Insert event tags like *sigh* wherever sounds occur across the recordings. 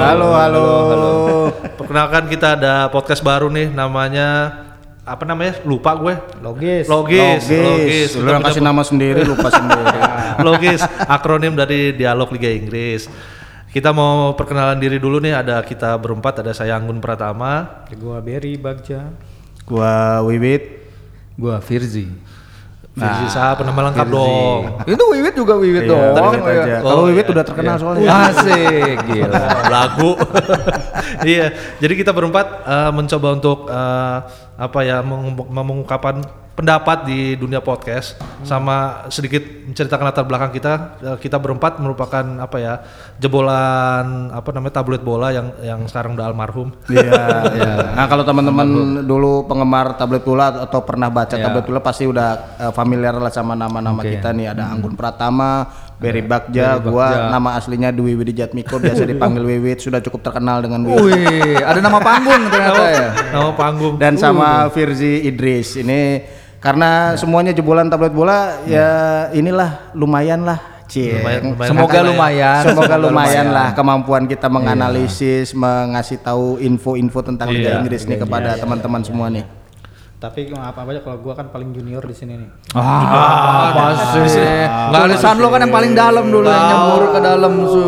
Ah, perkenalkan kita ada podcast baru nih namanya apa namanya? Lupa gue. Logis. Logis, logis. Logis, Ya. lu yang Kita kasih punya- nama sendiri lupa *laughs* sendiri. *laughs* Logis, akronim dari Dialog Liga Inggris. Kita mau perkenalan diri dulu nih, ada kita berempat, ada saya Anggun Pratama. Gua Berry Bagja. Gua Wiwit. Gua Firzi. Firzi Sahab, nama lengkap dong. Itu Wiwit juga Wiwit Iya, dong. Wiwit iya. aja. Oh, Kalau iya. Wiwit udah terkenal soalnya. Asik, *laughs* gila. lagu *laughs* iya jadi kita berempat eh, mencoba untuk eh, apa ya mengu- mengungkapkan pendapat di dunia podcast sama sedikit menceritakan latar belakang kita Eh, kita berempat merupakan apa ya jebolan apa namanya tabloid bola yang yang sekarang udah almarhum Iya, iya. Nah, kalau teman-teman dulu penggemar tablet bola atau pernah baca Iya. tablet bola pasti udah eh, familiar lah sama nama-nama Oke. kita nih. Ada Anggun Pratama, Berry Hmm. Iya. Bagja, Berry gua Bagja. nama aslinya Dwi Widijat Miko *laughs* biasa dipanggil Wiwit, sudah cukup terkenal dengan Wiwit. Wih, ada nama panggung ternyata ya. nama panggung Dan sama Firzi Idris. Ini karena semuanya jebolan tablet bola ya inilah lumayan lah. Cie. Lumayan- lumayan Semoga lah ya. *laughs* Iya. lumayan. Semoga lumayan lah kemampuan kita menganalisis, mengasih tahu info-info tentang Iya, Liga Inggris nih kepada teman-teman semua nih. Tapi apa apa aja kalau gua kan paling junior di sini nih. Ah, apa sih? Tulisan lo kan yang paling dalam dulu yang nyembur ke dalam su.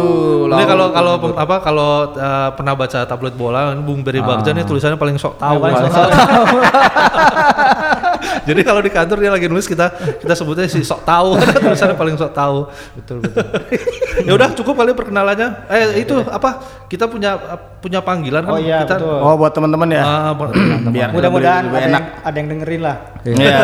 ini kalau kalau pem- apa kalau eh, pernah baca tabloid bola ini Bung Beri Bagja nih tulisannya Ah. paling sok tahu *laughs* Jadi kalau di kantor dia lagi nulis kita kita sebutnya si sok tahu *laughs* karena tulisannya paling sok tahu. Betul betul. *laughs* ya udah cukup kali perkenalannya. Eh itu apa? Kita punya punya panggilan kan Oh iya, kita. betul. Oh, buat teman-teman ya. Ah, per- Biar Mudah-mudahan lebih ada enak. yang, ada yang dengerin lah. Iya.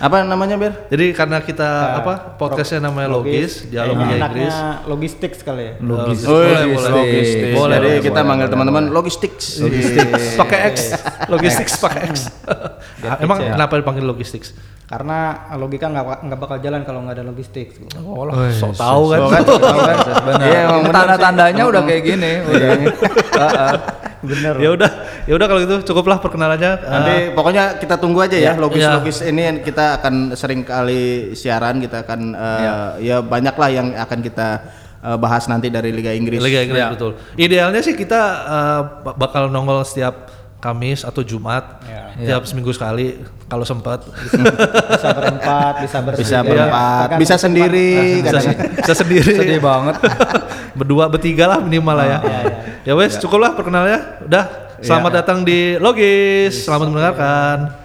Apa namanya, Bir? Jadi karena kita apa podcastnya namanya logis, dialog Kayaknya Liga enaknya Inggris. logistik sekali ya. Logis. Oh, Boleh, logis- boleh. logistik. Boleh, Jadi boleh, kita manggil teman-teman Iya. logistik. Logistik. Pakai X, logistik pakai X. *laughs* Ah, Emang kenapa dipanggil logistik? Karena logika nggak bak- nggak bakal jalan kalau nggak ada logistik. Oh, lah, sok tahu kan. Benar. Iya, emang benar Tanda-tandanya udah kayak gini. udah. Ah, ah. Bener. Ya udah, ya udah kalau gitu cukuplah perkenalannya. Ah, Nanti pokoknya kita tunggu aja Eh, Iya. ya logis-logis ini yang kita akan sering kali siaran kita akan eh, ya banyaklah yang akan kita eh, bahas nanti dari Liga Inggris. Liga Inggris betul. Idealnya sih kita eh, ba- bakal nongol setiap Kamis atau Jumat, tiap seminggu sekali kalau sempat. Bisa berempat, bisa bertiga. Bisa berempat, Tergantung Ya. bisa tempat. sendiri, bisa, kadang- bisa sendiri. Sedih banget. *laughs* Berdua, bertiga lah minimal lah ya. Ya wes, cukup lah perkenalannya. Udah, selamat datang di Logis. Selamat mendengarkan.